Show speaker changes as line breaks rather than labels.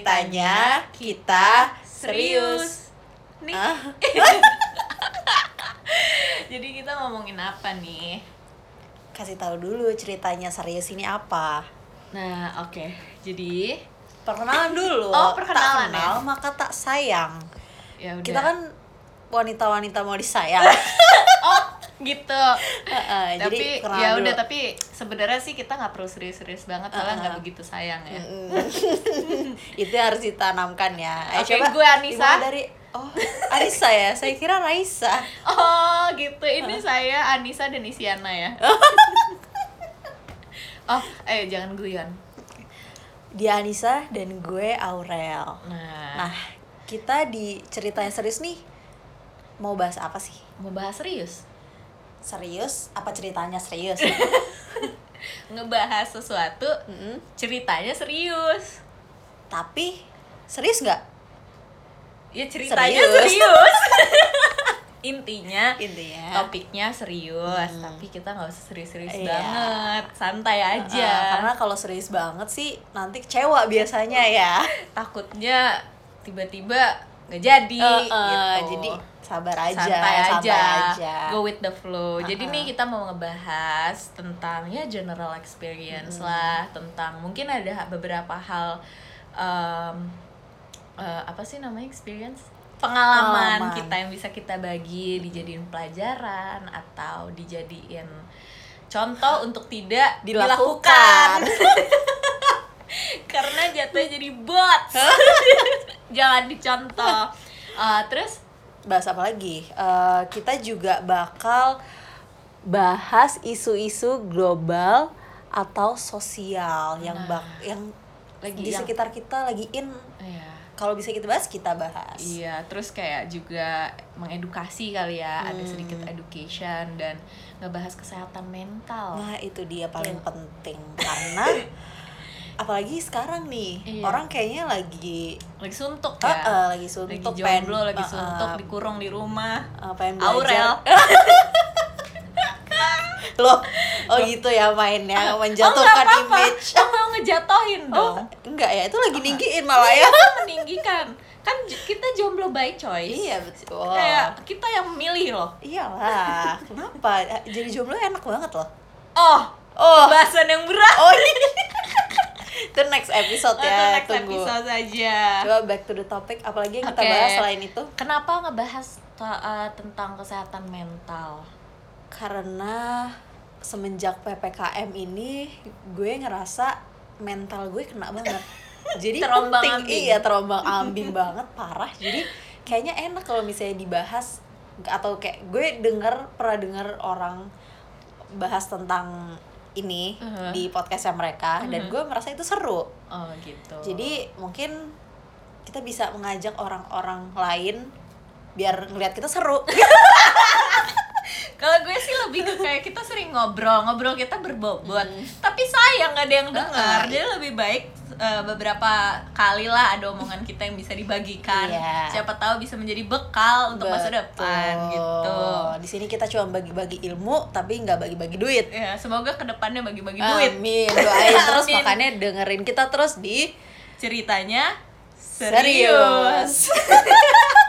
ceritanya kita serius.
Nih.
Ah,
Jadi kita ngomongin apa nih?
kasih tahu dulu ceritanya serius ini apa.
Nah, oke. Jadi
Perkenalan dulu.
Oh, perkenalan
tak kenal,
ya.
maka tak sayang.
ya udah.
Kita kan wanita-wanita mau disayang.
oh, gitu.
Heeh,
tapi
perkenalan
ya
Nah, dulu.
udah tapi sebenarnya sih kita nggak perlu serius-serius banget soalnya
Uh-uh.
nggak begitu sayang ya.
Mm. itu harus ditanamkan ya. Eh,
Oke,
coba
gue Anissa.
dimulai dari Oh, Anissa ya. Saya kira Raisa.
Oh, gitu.
Ah.
Ini saya Anissa dan Isyana ya. oh, eh jangan guyon.
Dia Anissa dan gue Aurel.
Nah,
Nah, kita di ceritanya serius nih mau bahas apa sih?
mau bahas serius.
Serius? Apa ceritanya serius?
Ngebahas sesuatu
Mm-mm.
ceritanya serius.
Tapi serius nggak?
Ya ceritanya
Serius.
serius. Intinya
Intinya.
topiknya serius,
Eh? Hmm.
tapi kita nggak usah serius-serius
Iya.
banget, santai aja.
Eh, karena kalau serius banget sih nanti kecewa biasanya ya.
takutnya tiba-tiba nggak jadi.
Eh, eh, Jadi
gitu.
sabar aja,
santai aja,
aja.
go with the flow. Jadi
Uh-uh.
nih kita mau ngebahas tentang ya general experience lah, tentang mungkin ada beberapa hal em, eh, apa sih namanya experience
Pengalaman.
pengalaman, kita yang bisa kita bagi dijadiin pelajaran atau dijadiin contoh untuk tidak
Dilakukan.
dilakukan. Karena jatuhnya jadi bot. Jangan dicontoh. Eh, terus
bahas apa lagi? Eh, kita juga bakal bahas isu-isu global atau sosial yang
Nah.
bak yang
Lagi
di
yang-
sekitar kita lagi in.
Iya.
Kalau bisa kita bahas, kita bahas.
Iya, terus kayak juga mengedukasi kali ya, ada
Hmm.
sedikit education dan ngebahas kesehatan mental.
Nah, itu dia paling penting karena apalagi sekarang nih,
Iya.
orang kayaknya lagi
Lagi suntuk
eh,
ya.
eh, lagi suntuk
lagi
pengen-
jomblo,
eh,
lagi
eh,
suntuk, dikurung di rumah.
eh, pengen
Aurel.
belajar. Loh, oh gitu ya mainnya
Oh, nggak
menjatuhkan
apa-apa.
image.
Oh, mau ngejatohin
Oh,
dong.
enggak ya, itu lagi ninggiin malah ya.
meninggikan. Kan j- kita jomblo by choice.
Iya betul.
Kayak kita yang milih loh.
Iyalah, kenapa? Jadi jomblo enak banget loh.
Oh,
Oh,
bahasan yang berat.
oh ini. itu next episode
Oh, itu
ya,
next
tunggu.
episode saja.
Coba back to the topic, apalagi yang kita
Oke.
bahas selain itu?
Kenapa ngebahas ta- eh, tentang kesehatan mental?
Karena semenjak PPKM ini gue ngerasa mental gue kena banget. Jadi
Terombang
penting,
ambing.
iya terombang ambing banget parah. Jadi kayaknya enak kalau misalnya dibahas atau kayak gue denger pernah denger orang bahas tentang ini
Uh-huh.
di podcastnya mereka dan
Mhm.
gue merasa itu seru.
Oh, gitu.
Jadi mungkin kita bisa mengajak orang-orang lain biar ngelihat kita seru.
Kalau gue sih lebih ke kayak kita sering ngobrol, ngobrol kita berbobot.
Hmm.
Tapi sayang nggak ada yang
Ah,
dengar.
Heeh.
Jadi lebih baik eh, beberapa kali lah ada omongan kita yang bisa dibagikan.
Iya.
Siapa tahu bisa menjadi bekal untuk masa depan
Betul.
gitu.
Di sini kita cuma bagi-bagi ilmu tapi nggak bagi-bagi duit.
Ya, semoga kedepannya bagi-bagi duit.
Amin. Doain terus
Amin.
makanya dengerin kita terus di
Ceritanya serius.
serius.